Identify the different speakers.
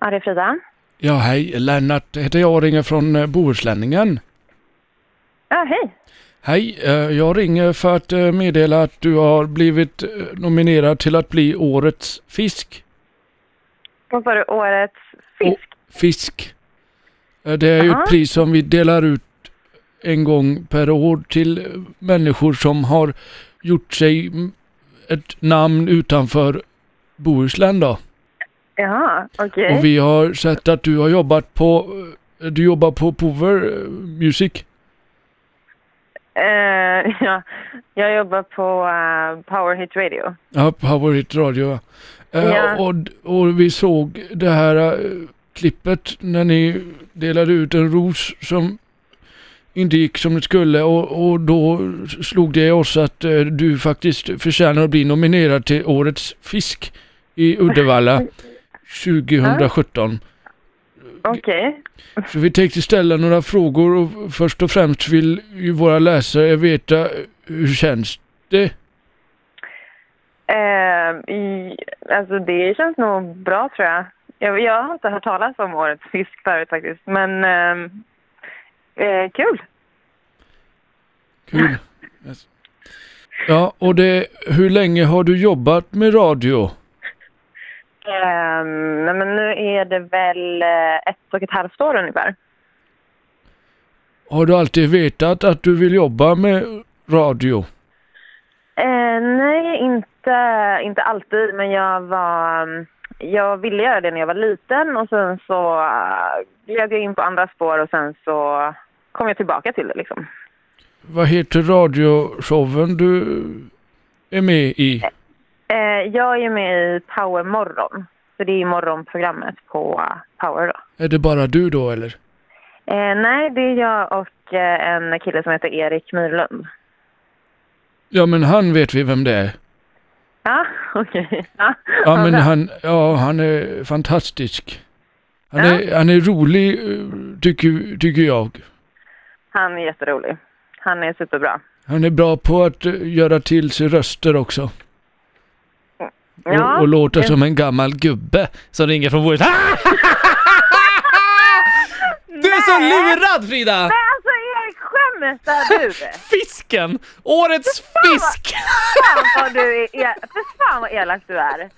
Speaker 1: Ja, det är Frida.
Speaker 2: Ja, hej. Lennart heter jag och ringer från eh, Bohuslänningen.
Speaker 1: Ja, hej.
Speaker 2: Hej, eh, jag ringer för att eh, meddela att du har blivit eh, nominerad till att bli Årets fisk.
Speaker 1: Vad var det? Årets
Speaker 2: Å-
Speaker 1: fisk?
Speaker 2: fisk. Eh, Det är ju
Speaker 1: Jaha.
Speaker 2: ett pris som vi delar ut eh, en gång per år till eh, människor som har gjort sig mm, ett namn utanför Bohuslän då.
Speaker 1: Ja, okej.
Speaker 2: Och vi har sett att du har jobbat på, eh, du jobbar på Pover eh, Music.
Speaker 1: Eh, ja, jag jobbar på eh, Power Hit Radio.
Speaker 2: Ja, Power Hit Radio. va? Eh,
Speaker 1: Ja.
Speaker 2: och, och vi såg det här eh, klippet när ni delade ut en ros som inte gick som det skulle och, och då slog det oss att eh, du faktiskt förtjänar att bli nominerad till Årets Fisk i Uddevalla 2017.
Speaker 1: Okej.
Speaker 2: Så vi tänkte ställa några frågor och först och främst vill ju våra läsare veta eh, hur känns det?
Speaker 1: Eh, i- alltså det känns nog bra tror jag. jag. Jag har inte hört talas om årets fisk förut faktiskt, men ehm, eh, kul.
Speaker 2: Kul. Yes. Ja, och det, hur länge har du jobbat med radio?
Speaker 1: Ehm, nej, men nu är det väl eh, ett och ett halvt år ungefär.
Speaker 2: Har du alltid vetat att du vill jobba med radio?
Speaker 1: Eh, nej, inte, inte alltid, men jag var... Jag ville göra det när jag var liten och sen så eh, gled jag in på andra spår och sen så kom jag tillbaka till det liksom.
Speaker 2: Vad heter radioshowen du är med i?
Speaker 1: Eh, jag är ju med i Power Morgon, så det är ju morgonprogrammet på eh, Power då.
Speaker 2: Är det bara du då eller?
Speaker 1: Eh, nej, det är jag och eh, en kille som heter Erik Myrlund.
Speaker 2: Ja, men han vet vi vem det är.
Speaker 1: Ja, okej. Ja,
Speaker 2: Ja, men
Speaker 1: bra.
Speaker 2: han, ja, han är fantastisk. Han
Speaker 1: Ja.
Speaker 2: är, han är rolig, eh, tycker, tycker jag.
Speaker 1: han är jätterolig. Han är superbra.
Speaker 2: Han är bra på att eh, göra till sig röster också.
Speaker 1: Ja,
Speaker 2: och, och låter som en gammal gubbe som ringer från bordet.
Speaker 3: Du är så lurad Frida!
Speaker 1: Nej, alltså Erik, skämtar du?
Speaker 3: Fisken! Årets fisk!
Speaker 1: fan vad du är el- För fan vad elak du är.